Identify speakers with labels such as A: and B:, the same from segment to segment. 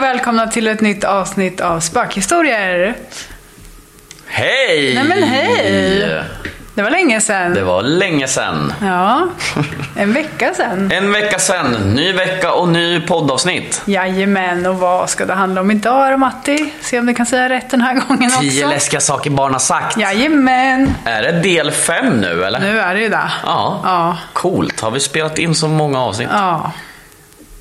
A: välkomna till ett nytt avsnitt av Spökhistorier.
B: Hej!
A: Nej men hej! Det var länge sedan.
B: Det var länge sedan.
A: Ja, en vecka sedan.
B: En vecka sedan, ny vecka och ny poddavsnitt.
A: Jajamän, och vad ska det handla om idag då Matti? Se om du kan säga rätt den här gången också.
B: Tio läskiga saker barn har sagt.
A: Jajamän,
B: Är det del fem nu eller?
A: nu är det ju det.
B: Ja.
A: Ja.
B: Coolt, har vi spelat in så många avsnitt?
A: Ja.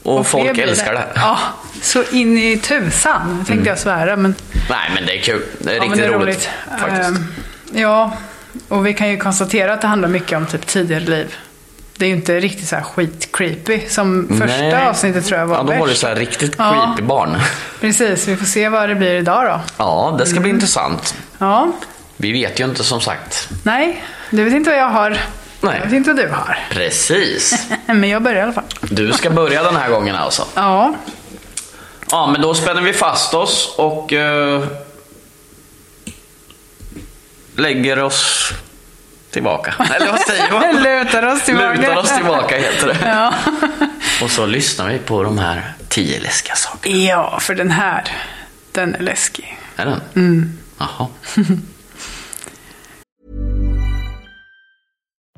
B: Och,
A: fler
B: folk
A: blir
B: älskar det. Mm.
A: Ja, så in i tusan tänkte jag svära. Men
B: Nej men det är kul, det är
A: Ja, men
B: riktigt
A: det är
B: roligt. Faktiskt.
A: Ehm, ja, och vi kan ju konstatera att det handlar mycket om typ tidigare liv. Det är ju inte riktigt så här skit-creepy som första
B: Nej.
A: avsnittet tror jag var
B: Ja, då var det
A: värst.
B: så här riktigt
A: Ja.
B: creepy barn.
A: Precis, vi får se vad det blir idag då.
B: Ja, det ska
A: Mm.
B: bli intressant.
A: Ja,
B: Vi vet ju inte som sagt.
A: nej, du vet inte vad jag har.
B: Nej.
A: Jag vet inte vad du har.
B: Precis.
A: Men jag börjar i alla fall.
B: Du ska börja den här gången alltså.
A: Ja,
B: Ja, men då spänner vi fast oss och eh, lägger oss tillbaka. Eller vad säger man?
A: lutar oss tillbaka.
B: Lutar oss tillbaka heter det.
A: Ja.
B: Och så lyssnar vi på de här tio läskiga sakerna.
A: ja, för den här, den är läskig.
B: Är den? Mm. Jaha.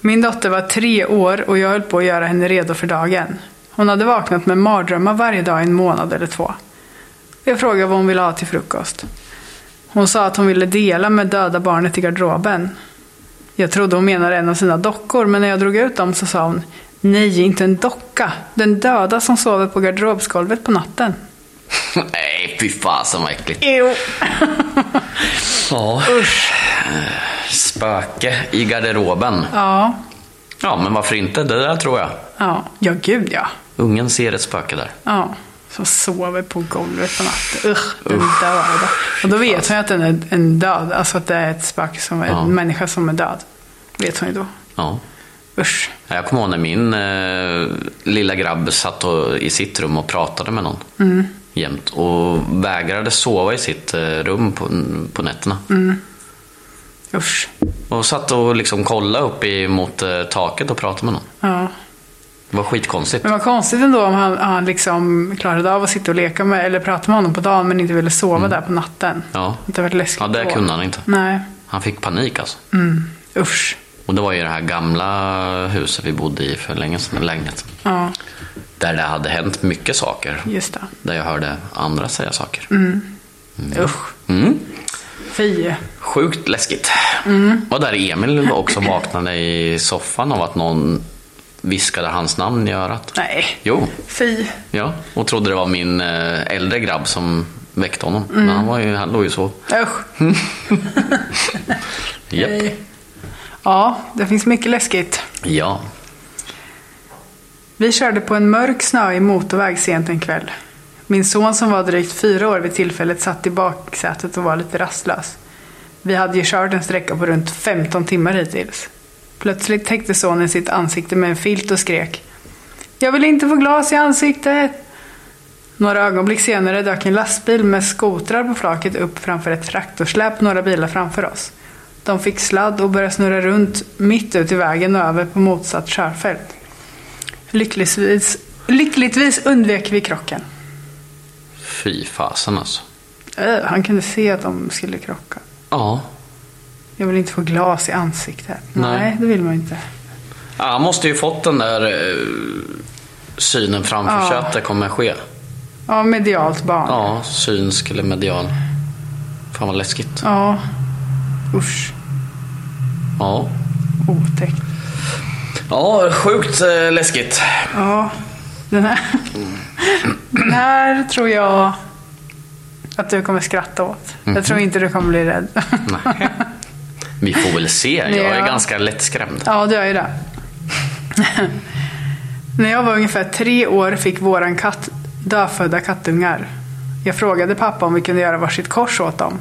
A: Min dotter var tre år och jag höll på att göra henne redo för dagen. Hon hade vaknat med mardrömmar varje dag i en månad eller två. Jag frågade vad hon ville ha till frukost. Hon sa att hon ville dela med döda barnet i garderoben. Jag trodde hon menade en av sina dockor, men när jag drog ut dem så sa hon Nej, inte en docka. Den döda som sover på garderobsgolvet på natten.
B: Nej, fy fasen vad äckligt.
A: Jo.
B: Ja. Eh, Spöke i garderoben.
A: Ja,
B: Ja, men varför inte? Det där tror jag.
A: ja, ja gud ja.
B: Ungen ser ett spöke där.
A: Ja, som sover på golvet på natten. Usch, den döda. Och då vet hon ju att den är en död, alltså att det är ett spöke, som är,
B: Ja.
A: en människa som är död. Vet hon ju då.
B: Ja.
A: Usch.
B: Ja, Jag kommer ihåg när min eh, lilla grabb satt och, i sitt rum och pratade med någon jämt och vägrade sova i sitt eh, rum på, på nätterna.
A: Usch.
B: Och satt och liksom kollade upp i- mot eh, taket och pratade med någon.
A: Ja.
B: Det var skitkonstigt.
A: Men vad konstigt ändå om han, han liksom klarade av att sitta och leka med, eller prata med honom på dagen men inte ville sova där på natten.
B: Ja.
A: Det hade varit läskigt
B: Mm. Ja, det
A: då.
B: kunde han inte.
A: Nej,
B: Han fick panik alltså.
A: usch.
B: Och det var ju det här gamla huset vi bodde i för länge sedan, lägenhet.
A: Ja,
B: Där det hade hänt mycket saker.
A: just det.
B: Där jag hörde andra säga saker.
A: Usch.
B: Mm.
A: Fy.
B: Sjukt läskigt. Och där Emil också vaknade i soffan av att någon viskade hans namn i örat.
A: Nej.
B: Jo,
A: Fy.
B: ja. Och trodde det var min eh, äldre grabb som väckte honom. Men han, var ju, han låg ju så.
A: Usch.
B: Japp.
A: Ja, det finns mycket läskigt.
B: Ja.
A: Vi körde på en mörk snöig motorväg sent en kväll. Min son som var drygt fyra år vid tillfället satt i baksätet och var lite rastlös. Vi hade ju kört en sträcka på runt 15 timmar hittills. Plötsligt täckte sonen sitt ansikte med en filt och skrek Jag vill inte få glas i ansiktet! Några ögonblick senare dök en lastbil med skotrar på flaket upp framför ett traktorsläp några bilar framför oss. De fick sladd och började snurra runt mitt ut i vägen och över på motsatt körfält. Lyckligtvis Lyckligtvis undvek vi krocken.
B: Fy fasen alltså.
A: Öh, han kunde se att de skulle krocka.
B: Ja.
A: Jag vill inte få glas i ansiktet.
B: Nej.
A: Nej, det vill man inte.
B: ja. Han måste ju fått den där eh, synen framför sig att det kommer ske.
A: Ja, medialt barn.
B: Ja, synsk eller medial. Fan vad läskigt.
A: Ja. Usch.
B: Ja.
A: Otäckt.
B: Ja, sjukt eh, läskigt.
A: Ja. Den här, den här tror jag att du kommer skratta åt. Jag tror inte du kommer bli rädd.
B: Mhm. Nej. Vi får väl se. Jag är
A: Ja.
B: ganska lättskrämd.
A: Ja, du är ju det. När jag var ungefär tre år fick våran katt dödfödda kattungar. Jag frågade pappa om vi kunde göra varsitt kors åt dem.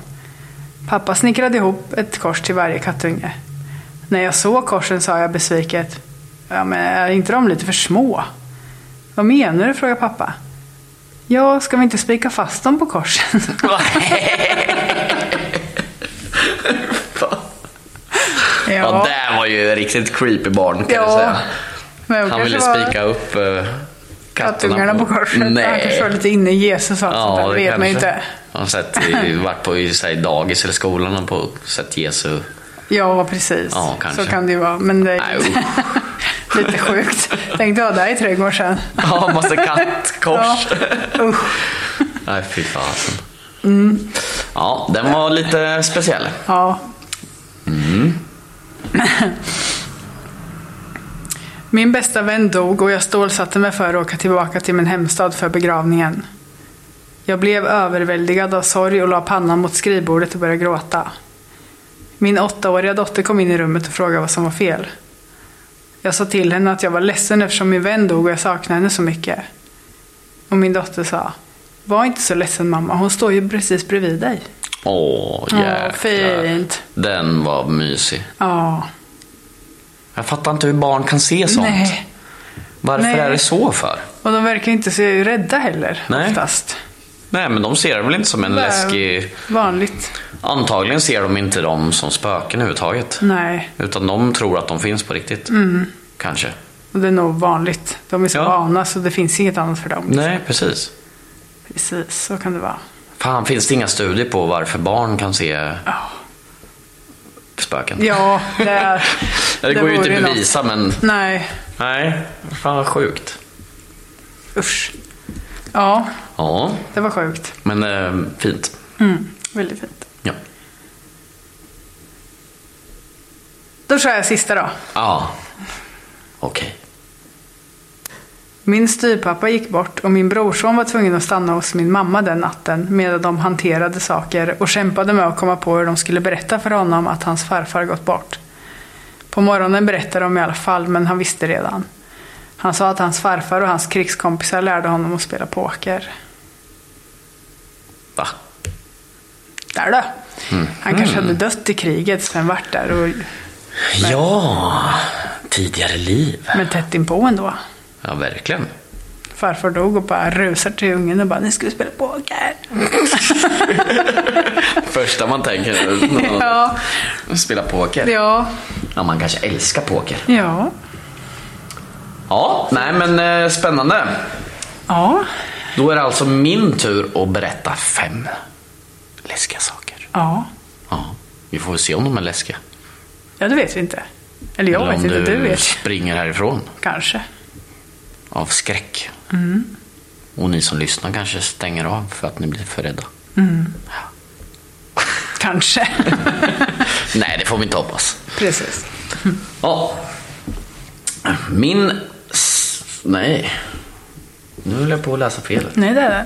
A: Pappa snickrade ihop ett kors till varje kattunge. När jag såg korsen sa jag besviket, ja men är inte de lite för små? Vad menar du? frågade pappa. Ja, ska vi inte spika fast dem på korsen? ja,
B: Ja, det var ju riktigt creepy barn kan jag
A: Ja.
B: säga.
A: men jag
B: Han
A: kanske
B: ville
A: var-
B: spika upp eh,
A: Kattungarna på korset. Han kanske var
B: Nej.
A: lite inne i Jesus och allt sånt där. Det vet man ju inte.
B: Jag har sett, i- varit på i, säg, dagis eller skolan och på, sett Jesu...
A: Ja, precis.
B: Ja, kanske.
A: Så kan det ju vara. Men det är
B: Nej,
A: lite, lite sjukt. Tänkte jag där i trädgården sen.
B: Ja, massa kattkors.
A: Ja. Usch. Mm.
B: Nej, fy fasen. Ja, den var lite speciell.
A: Ja. Mm. Min bästa vän dog och jag stålsatte mig för att åka tillbaka till min hemstad för begravningen. Jag blev överväldigad av sorg och la pannan mot skrivbordet och började gråta. Min åttaåriga dotter kom in i rummet och frågade vad som var fel. Jag sa till henne att jag var ledsen eftersom min vän dog och jag saknade henne så mycket. Och min dotter sa, var inte så ledsen mamma, hon står ju precis bredvid dig.
B: Åh,
A: Åh,
B: jäklar.
A: fint.
B: Den var mysig.
A: Ja.
B: Jag fattar inte hur barn kan se sånt.
A: Nej.
B: Varför
A: Nej.
B: är det så för?
A: Och de verkar inte så rädda heller
B: Nej.
A: oftast.
B: Nej, men de ser det väl inte som en
A: Det är
B: läskig...
A: Vanligt.
B: Antagligen ser de inte dem som spöken överhuvudtaget.
A: Nej,
B: Utan de tror att de finns på riktigt.
A: Mm.
B: Kanske.
A: och det är nog vanligt. De är så
B: Ja.
A: vana så det finns inget annat för dem.
B: Nej, precis.
A: Precis, så kan det vara.
B: Fan, finns det inga studier på varför barn kan se
A: Ja.
B: spöken?
A: Ja, det, är,
B: det, går ju inte
A: vore
B: att
A: något.
B: bevisa, men...
A: Nej,
B: Nej, fan vad sjukt.
A: usch. Ja,
B: Ja,
A: det var sjukt.
B: men eh, fint.
A: Mm, väldigt fint.
B: Ja.
A: Då kör jag sista då.
B: Ja. Okej.
A: Min styrpappa gick bort och min brorson var tvungen att stanna hos min mamma den natten medan de hanterade saker och kämpade med att komma på hur de skulle berätta för honom att hans farfar gått bort. På morgonen berättade de i alla fall, men han visste redan. Han sa att hans farfar och hans krigskompisar lärde honom att spela poker.
B: Va?
A: Där då! Han kanske hade dött i kriget, sen vart där och...
B: Ja, tidigare liv.
A: Men tätt inpå ändå.
B: Ja, verkligen.
A: Farfar dog och bara rusar till ungen och bara, nu ska vi spela poker.
B: Första man tänker är
A: Ja,
B: spela poker.
A: ja,
B: Ja, man kanske älskar poker.
A: ja.
B: Ja, nej men eh, spännande.
A: Ja,
B: Då är det alltså min tur att berätta fem läskiga saker.
A: ja.
B: Ja, vi får väl se om de är läskiga.
A: Ja, det vet vi inte. Eller jag
B: Eller
A: vet
B: om
A: inte, du... vet.
B: springer härifrån
A: Kanske.
B: av skräck.
A: Mm.
B: Och ni som lyssnar kanske stänger av för att ni blir för rädda.
A: Kanske.
B: Nej, det får vi inte hoppas.
A: Precis.
B: Ja. Min... s- Nej. Nu höll jag på att läsa fel.
A: Nej, det är det.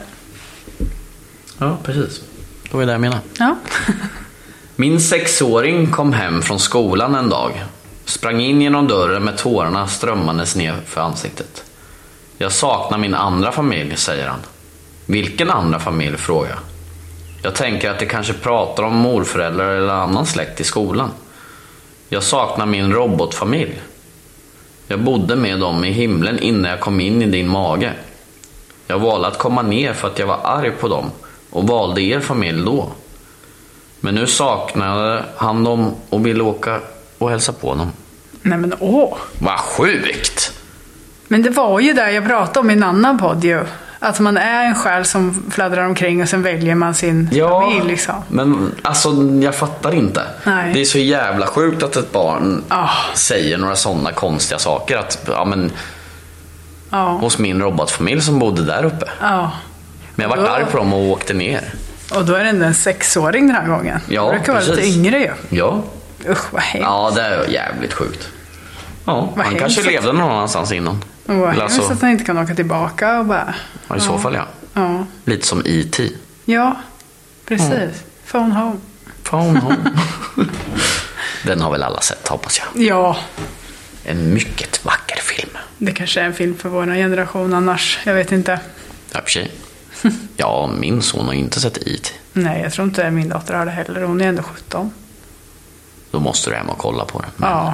B: Ja, precis. Det var ju det jag menade.
A: Ja.
B: Min sexåring kom hem från skolan en dag. Sprang in genom dörren med tårarna strömmandes ner för ansiktet. Jag saknar min andra familj, säger han. Vilken andra familj, frågar jag. Jag tänker att de kanske pratar om morföräldrar eller annan släkt i skolan. Jag saknar min robotfamilj. Jag bodde med dem i himlen innan jag kom in i din mage. Jag valde att komma ner för att jag var arg på dem och valde er familj då. Men nu saknade han dem och ville åka och hälsa på dem.
A: Nej, men åh.
B: Vad sjukt!
A: Men det var ju det jag pratade om i en annan podd ju. Att man är en själ som fladdrar omkring och sen väljer man sin familj liksom.
B: men alltså jag fattar inte.
A: Nej.
B: Det är så jävla sjukt att ett barn
A: Ah.
B: säger några sådana konstiga saker. Att, ja, men,
A: Ja.
B: hos min robotfamilj som bodde där uppe.
A: ja.
B: Men jag vart
A: Ja.
B: arg på dem och åkte ner.
A: Och då är det ändå en sexåring den här gången.
B: Ja,
A: det brukar vara
B: precis.
A: lite yngre ju.
B: Ja.
A: Usch vad hemskt.
B: ja, det är jävligt sjukt. Ja,
A: Vad
B: han kanske
A: hemskt.
B: levde någon annanstans innan.
A: Och Vad
B: Eller
A: hemskt
B: alltså,
A: att han inte kan åka tillbaka och bara...
B: ja, I så fall ja.
A: Ja,
B: Lite som E E.T.
A: ja precis.
B: Mm.
A: Phone home.
B: Phone home. Den har väl alla sett hoppas jag.
A: Ja,
B: En mycket vacker film.
A: det kanske är en film för vår generation annars. Jag vet inte.
B: Ja, i och för sig. Ja, min son har inte sett E.T.
A: Nej, jag tror inte min dotter har det heller. Hon är ändå 17.
B: Då måste du hem och kolla på den. Men-
A: Ja.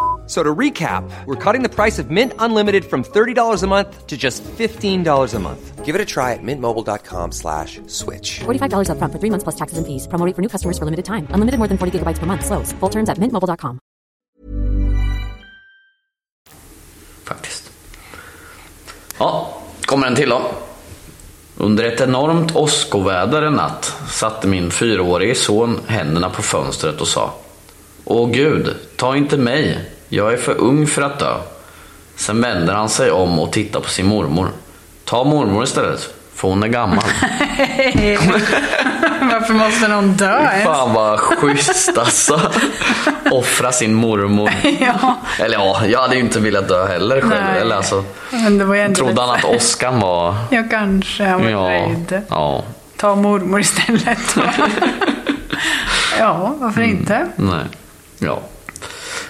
C: a-" So to recap, we're cutting the price of Mint Unlimited from $30 a month to just $15 a month. Give it a try at mintmobile.com slash switch.
D: $45 upfront for three months plus taxes and fees. Promo rate for new customers for limited time. Unlimited more than 40 gigabytes per month. Slows. Full terms at mintmobile.com.
B: faktiskt. Ja, kommer en till då. Under ett enormt åskoväder en natt satte min fyraårige son händerna på fönstret och sa Åh gud, ta inte mig. Jag är för ung för att dö. Sen vänder han sig om och tittar på sin mormor. Ta mormor istället, för hon är gammal.
A: Varför måste någon dö ens?
B: Fan vad schysst alltså. Offra sin mormor.
A: Ja.
B: Eller ja, jag hade ju inte velat dö heller själv.
A: Nej.
B: Eller, alltså,
A: Men det var ju ändå
B: trodde
A: lite-
B: han att åskan var
A: Ja, kanske. Han var
B: Ja,
A: nöjd.
B: ja,
A: Ta mormor istället. ja, varför
B: Mm.
A: inte?
B: nej, ja.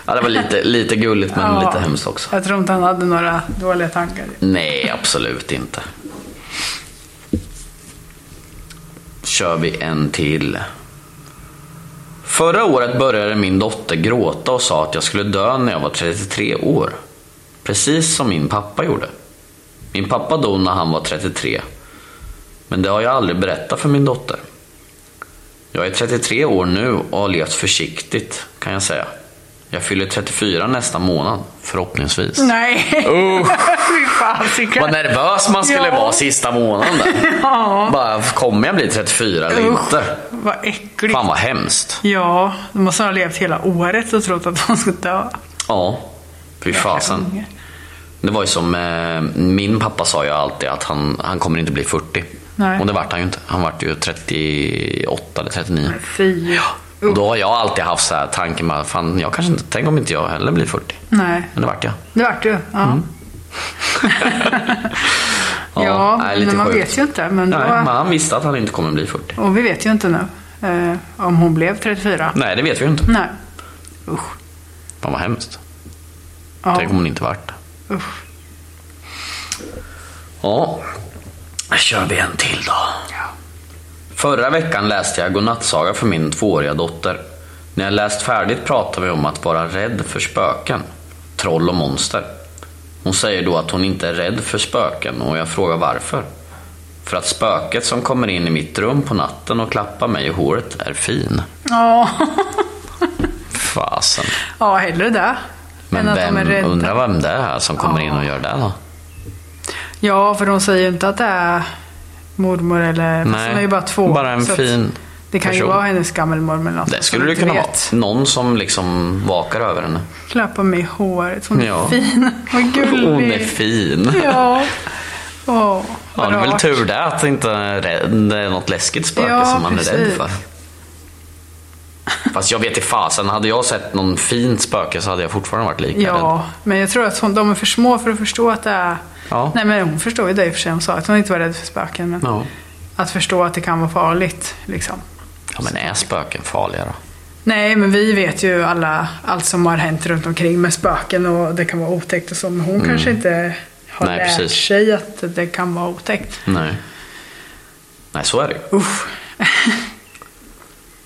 B: Ja, det var lite, lite gulligt men
A: Ja.
B: lite hemskt också.
A: Jag tror inte han hade några dåliga tankar.
B: Nej, absolut inte. Kör vi en till. Förra året började min dotter gråta och sa att jag skulle dö när jag var 33 år. Precis som min pappa gjorde. Min pappa dog när han var 33. Men det har jag aldrig berättat för min dotter. Jag är 33 år nu och har levt försiktigt, kan jag säga. Jag fyller 34 nästa månad, förhoppningsvis.
A: Nej, fy
B: Vad
A: fasiken.
B: nervös man skulle
A: Ja.
B: vara sista månaden. där. Bara, kommer jag bli 34 eller
A: Usch,
B: inte?
A: Vad äckligt.
B: Fan vad hemskt.
A: Ja, de måste ha levt hela året och trott att de ska dö.
B: Ja, fy fasen. Det var ju som, eh, min pappa sa ju alltid att han, han kommer inte bli 40.
A: Nej.
B: Och det vart han ju inte. Han vart ju 38 eller 39.
A: Fy.
B: Och då har jag alltid haft så här tanken med, fan jag kanske inte, tänk om inte jag heller blir 40.
A: Nej,
B: Men det vart jag.
A: det vart du. Ja,
B: Mm.
A: ja,
B: nej,
A: men man
B: sjukt.
A: vet ju inte. Men då...
B: Nej, men han visste att han inte kommer bli 40.
A: Och vi vet ju inte nu eh, om hon blev 34.
B: Nej, det vet vi ju inte.
A: Nej.
B: Fan vad hemskt.
A: Ja.
B: Tänk om hon inte vart det.
A: Usch.
B: Ja, då kör vi en till då. Förra veckan läste jag godnattsaga för min tvååriga dotter. När jag läst färdigt pratar vi om att vara rädd för spöken, troll och monster. Hon säger då att hon inte är rädd för spöken och jag frågar varför. För att spöket som kommer in i mitt rum på natten och klappar mig i håret är fin.
A: Ja.
B: Fasen.
A: ja, hellre det. än
B: Men
A: att de är
B: vem,
A: rädda.
B: undrar vem det är som kommer in och gör det då?
A: Ja, för de säger ju inte att det är mormor eller...
B: Nej,
A: Nej, hon är ju bara två.
B: bara en
A: så att
B: fin
A: Det kan
B: person.
A: ju vara hennes gammelmormor eller något.
B: Det
A: som
B: skulle det
A: inte
B: kunna vara.
A: vet.
B: Någon som liksom vakar över henne.
A: Klappa mig i håret. Hon är
B: Ja.
A: fin. Vad gullig.
B: Hon är fin.
A: Mm. Ja. Åh,
B: Ja,
A: vad
B: det är väl
A: rart.
B: tur det att det inte är, rädd- det är något läskigt spöke
A: Ja,
B: som man är rädd
A: precis.
B: för. Fast jag vet i fasen, hade jag sett någon fint spöke så hade jag fortfarande varit lika rädd.
A: Ja, men jag tror att hon, de är för små för att förstå att det är...
B: Ja.
A: Nej, men hon förstår ju det i och för sig. Hon sa att hon inte var rädd för spöken. Men
B: Ja.
A: att förstå att det kan vara farligt, liksom.
B: ja, men är spöken farliga då?
A: Nej, men vi vet ju alla, allt som har hänt runt omkring med spöken och det kan vara otäckt och så. Men hon kanske inte har
B: Mm. Nej,
A: lärt
B: precis.
A: sig att det kan vara otäckt.
B: Nej. Nej, så är det ju.
A: Usch.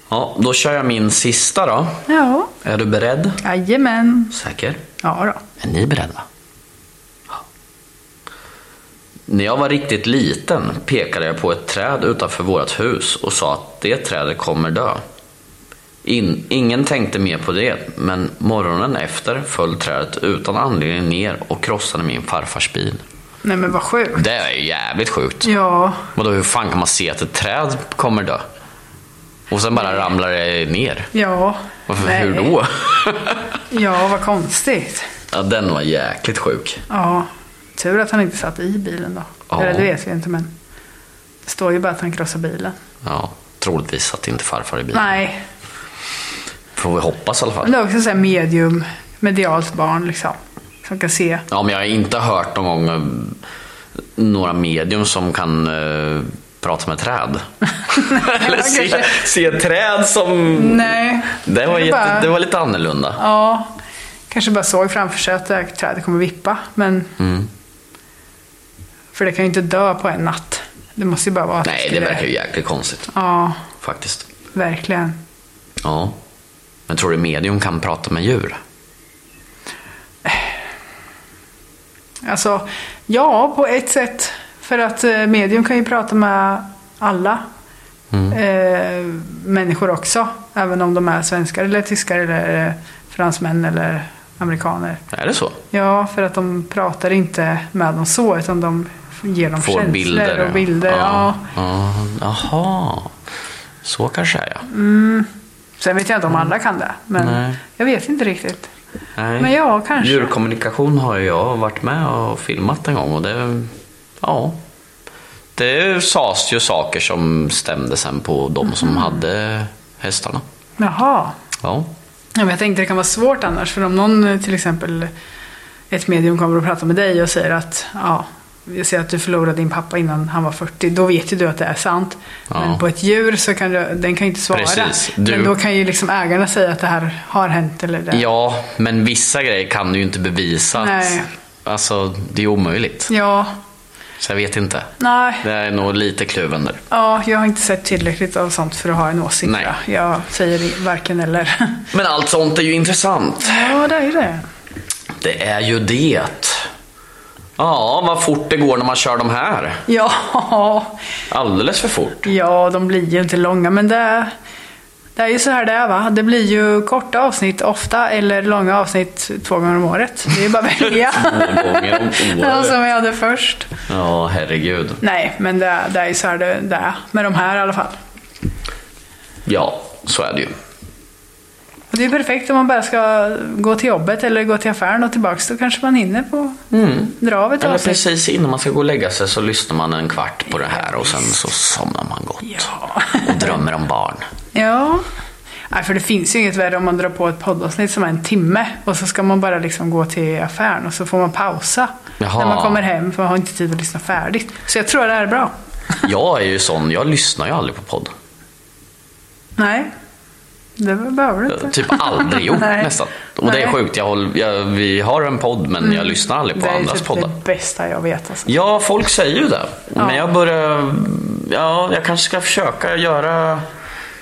B: Ja, då kör jag min sista då.
A: Ja,
B: Är du beredd?
A: jajamän.
B: Säker?
A: Ja då.
B: Är ni beredda? Ja. När jag var riktigt liten pekade jag på ett träd utanför vårt hus och sa att det trädet kommer dö. In, ingen tänkte mer på det, men morgonen efter föll trädet utan anledning ner och krossade min farfars bil.
A: Nej, men vad sjukt.
B: Det är ju jävligt sjukt.
A: Ja,
B: Vadå, hur fan kan man se att ett träd kommer dö? Och sen bara ramlar det ner.
A: ja.
B: Varför,
A: nej.
B: hur då?
A: Ja, vad konstigt.
B: ja, den var jäkligt sjuk.
A: Ja, tur att han inte satt i bilen då.
B: Ja.
A: Eller det vet vi inte men. Det står ju bara att han krossade bilen.
B: Ja, troligtvis satt inte farfar i bilen.
A: Nej,
B: Får vi hoppas i alla
A: men
B: fall.
A: det är också såhär medium, medialt barn liksom. Som kan se.
B: Ja, men jag har inte hört någon gång eh, några medium som kan eh, prata med träd. Eller se,
A: kanske.
B: se träd som...
A: Nej.
B: Det var,
A: Kanske
B: jätte,
A: bara-
B: det var lite annorlunda.
A: Ja, kanske bara såg framför sig att det här trädet kommer vippa. Men...
B: Mm.
A: För det kan ju inte dö på en natt. Det måste ju bara vara att
B: Nej, det
A: skulle-
B: verkar ju jäkligt konstigt
A: Ja,
B: faktiskt.
A: verkligen.
B: Ja. Men tror du medium kan prata med djur?
A: Alltså, ja, på ett sätt. För att eh, medium kan ju prata med alla
B: Mm.
A: eh, människor också. Även om de är svenskar eller tyskar eller eh, fransmän eller amerikaner.
B: Är det så?
A: Ja, för att de pratar inte med dem så, utan de ger dem
B: Får
A: känslor
B: bilder?
A: och bilder. Ja.
B: ja. Jaha. Så kanske är jag.
A: Sen vet jag inte om alla kan det, men
B: Mm. Nej.
A: jag vet inte riktigt.
B: Nej.
A: Men ja, kanske.
B: Djurkommunikation har ju jag varit med och filmat en gång och det... Ja. Det sades ju saker som stämde sen på de som
A: Mm.
B: hade hästarna.
A: Jaha.
B: Ja.
A: Ja, men jag tänkte det kan vara svårt annars. För om någon eh, till exempel, ett medium kommer och pratar med dig och säger att ja, jag ser att du förlorade din pappa innan han var 40. Då vet ju du att det är sant.
B: Ja.
A: Men på ett djur så kan du, den kan ju inte svara.
B: Precis. Du-
A: Men då kan ju liksom ägarna säga att det här har hänt. Eller det.
B: ja, men vissa grejer kan du ju inte bevisa.
A: Nej.
B: Att, alltså, det är omöjligt.
A: ja.
B: Så jag vet inte.
A: Nej.
B: Det är nog lite kluven där.
A: Ja, jag har inte sett tillräckligt av sånt för att ha en åsikt.
B: Nej.
A: va? Jag säger varken eller.
B: Men allt sånt är ju intressant.
A: ja, det är ju det.
B: Det är ju det. Ja, vad fort det går när man kör de här.
A: Ja.
B: Alldeles för fort.
A: Ja, de blir ju inte långa, men det, det är ju så här det är va. Det blir ju korta avsnitt ofta eller långa avsnitt två gånger om året. Det är ju bara att välja.
B: Två gånger om året.
A: Ja, som vi hade först.
B: Ja, herregud.
A: Nej, men det, det är ju så här det, det är. Med de här i alla fall.
B: Ja, så är det ju.
A: Och det är ju perfekt om man bara ska gå till jobbet eller gå till affären och tillbaks. Då kanske man hinner på dra av ett
B: Eller
A: avsnitt.
B: precis innan man ska gå och lägga sig så lyssnar man en kvart på det här och sen så somnar man gott.
A: Ja.
B: Och drömmer om barn.
A: Ja. Nej, för det finns ju inget värre om man drar på ett poddavsnitt som är en timme och så ska man bara liksom gå till affären och så får man pausa
B: Jaha.
A: när man kommer hem för man har inte tid att lyssna färdigt. Så jag tror det här är bra.
B: Jag är ju sån, jag lyssnar ju aldrig på podd.
A: Nej, det behöver du inte.
B: Typ aldrig gjort
A: Nej.
B: nästan. Och det är
A: Nej. Mm.
B: sjukt, jag håller, jag, vi har en podd men jag lyssnar aldrig på
A: Det är ju
B: andras
A: typ
B: poddar.
A: det bästa jag vet. Alltså.
B: Ja, folk säger ju det. Men
A: Ja.
B: jag börjar... Ja, jag kanske ska försöka göra,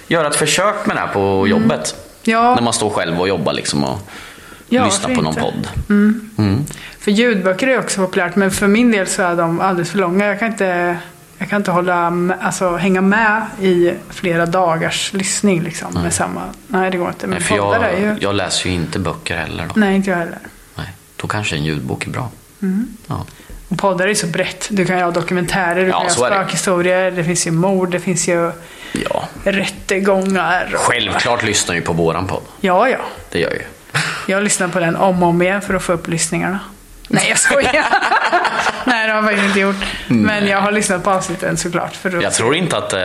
B: göra ett försök med det här på jobbet.
A: Mm. Ja.
B: När man står själv och jobbar liksom och
A: Ja,
B: lyssnar på
A: varför
B: någon
A: inte?
B: podd.
A: För ljudböcker är ju också populärt men för min del så är de alldeles för långa. Jag kan inte, jag kan inte hålla, med- alltså, hänga med i flera dagars lyssning liksom, med samma. Nej, det går inte. Men
B: Nej, för
A: poddar är ju...
B: jag, jag läser ju inte böcker heller. Då.
A: Nej, inte jag heller.
B: Nej. då kanske en ljudbok är bra. Ja.
A: Och Poddar är ju så brett. Du kan ju ha dokumentärer, du
B: Ja,
A: kan ju
B: så är
A: ha
B: det.
A: spökhistorier, det finns ju mord, det finns ju
B: ja,
A: rättegångar. och-
B: självklart lyssnar jag ju på våran podd.
A: Ja, ja.
B: Det gör jag ju.
A: Jag lyssnar på den om och om igen för att få upp lyssningarna. Nej, jag skojar. Nej, det har jag faktiskt
B: Mm.
A: inte gjort. Men jag har lyssnat på avsnitten såklart. För att...
B: Jag tror inte att eh,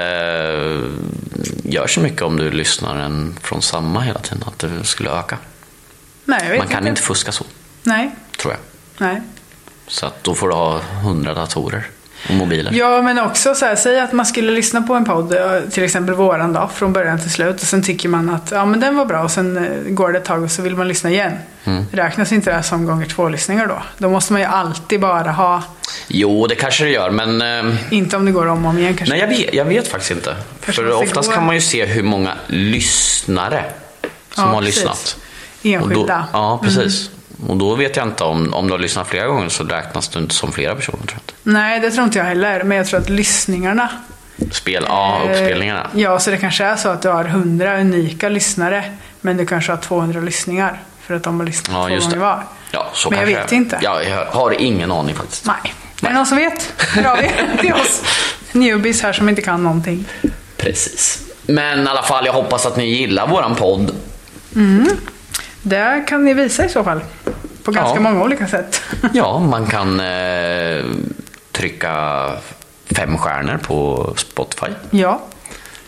B: gör så mycket om du lyssnar en från samma hela tiden, att det skulle öka.
A: Nej, jag vet
B: Man kan inte fuska så,
A: Nej,
B: tror jag.
A: nej.
B: Så att då får du ha hundra datorer och mobiler.
A: Ja, men också så här, säg att man skulle lyssna på en podd, eh, till exempel våran dag, från början till slut. Och sen tycker man att ja, men den var bra och sen eh, går det ett tag och så vill man lyssna igen.
B: Mm.
A: Räknas inte det här som gånger två-lyssningar då? Då måste man ju alltid bara ha,
B: Jo, det kanske det gör, men... ehm,
A: inte om det går om och om igen kanske.
B: Nej, jag vet, jag vet faktiskt inte.
A: Kanske
B: För
A: måste
B: oftast
A: gå-
B: kan man ju se hur många lyssnare som
A: Ja,
B: har
A: precis.
B: lyssnat. Och då,
A: Enskilda.
B: ja, precis. Och då vet jag inte om, om du har lyssnat flera gånger så räknas du inte som flera personer. Tror jag. inte.
A: Nej, det tror inte jag heller. Men jag tror att lyssningarna...
B: Spel, ja,
A: eh,
B: uppspelningarna.
A: Ja, så det kanske är så att du har 100 unika lyssnare, men du kanske har 200 lyssningar. För att de har lyssnat
B: Ja,
A: två
B: just
A: gånger
B: det.
A: var.
B: Ja, så
A: Men jag
B: kanske
A: vet inte.
B: Ja, jag har ingen aning faktiskt.
A: Nej. Är det någon som vet? Hör av er till oss. Newbies här som inte kan någonting.
B: Precis. Men i alla fall, jag hoppas att ni gillar våran podd.
A: Det kan ni visa i så fall. På ganska
B: Ja.
A: många olika sätt.
B: Ja, man kan eh, trycka fem stjärnor på Spotify.
A: ja.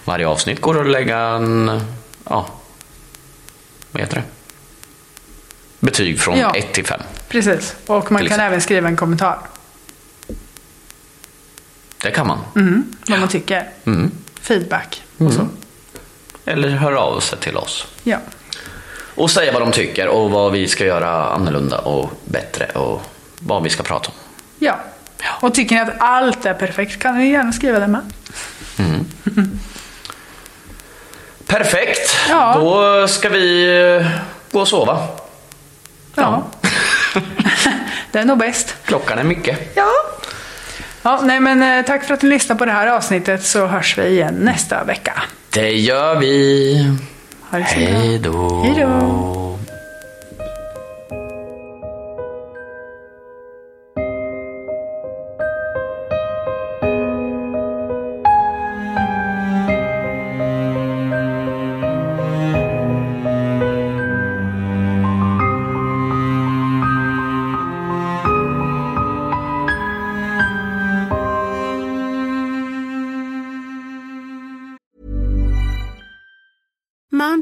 B: Varje avsnitt går att lägga en... Ja, vad heter det? Betyg från
A: Ja.
B: 1 till 5.
A: Precis. Och man
B: Till
A: kan
B: exempel.
A: även skriva en kommentar.
B: Det kan man.
A: Vad man tycker.
B: Mm.
A: Feedback.
B: Eller höra av sig till oss.
A: Ja.
B: Och säga vad de tycker och vad vi ska göra annorlunda och bättre och vad vi ska prata om.
A: ja. Och tycker ni att allt är perfekt kan ni gärna skriva det med.
B: Perfekt!
A: Ja.
B: Då ska vi eh, gå och sova.
A: Ja. det är nog bäst.
B: Klockan är mycket.
A: Ja. ja nej men eh, tack för att ni lyssnade på det här avsnittet så hörs vi igen nästa vecka.
B: Det gör vi.
A: Ha det så bra.
B: Hej då.
A: Hej då.
E: Mom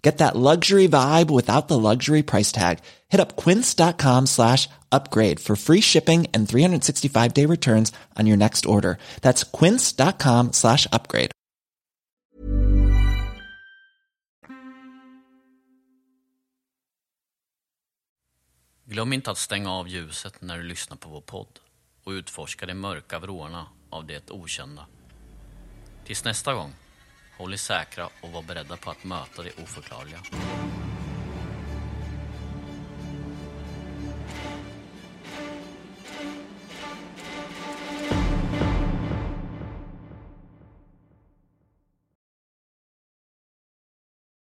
F: Get that luxury vibe without the luxury price tag. Hit up quince.com slash upgrade for free shipping and 365 day returns on your next order. That's quince.com slash upgrade.
B: Glöm inte att stänga av ljuset när du lyssnar på vår podd och utforska de mörka vrårna av det okända. Tills nästa gång, håll er säkra och var beredda på att möta det oförklarliga.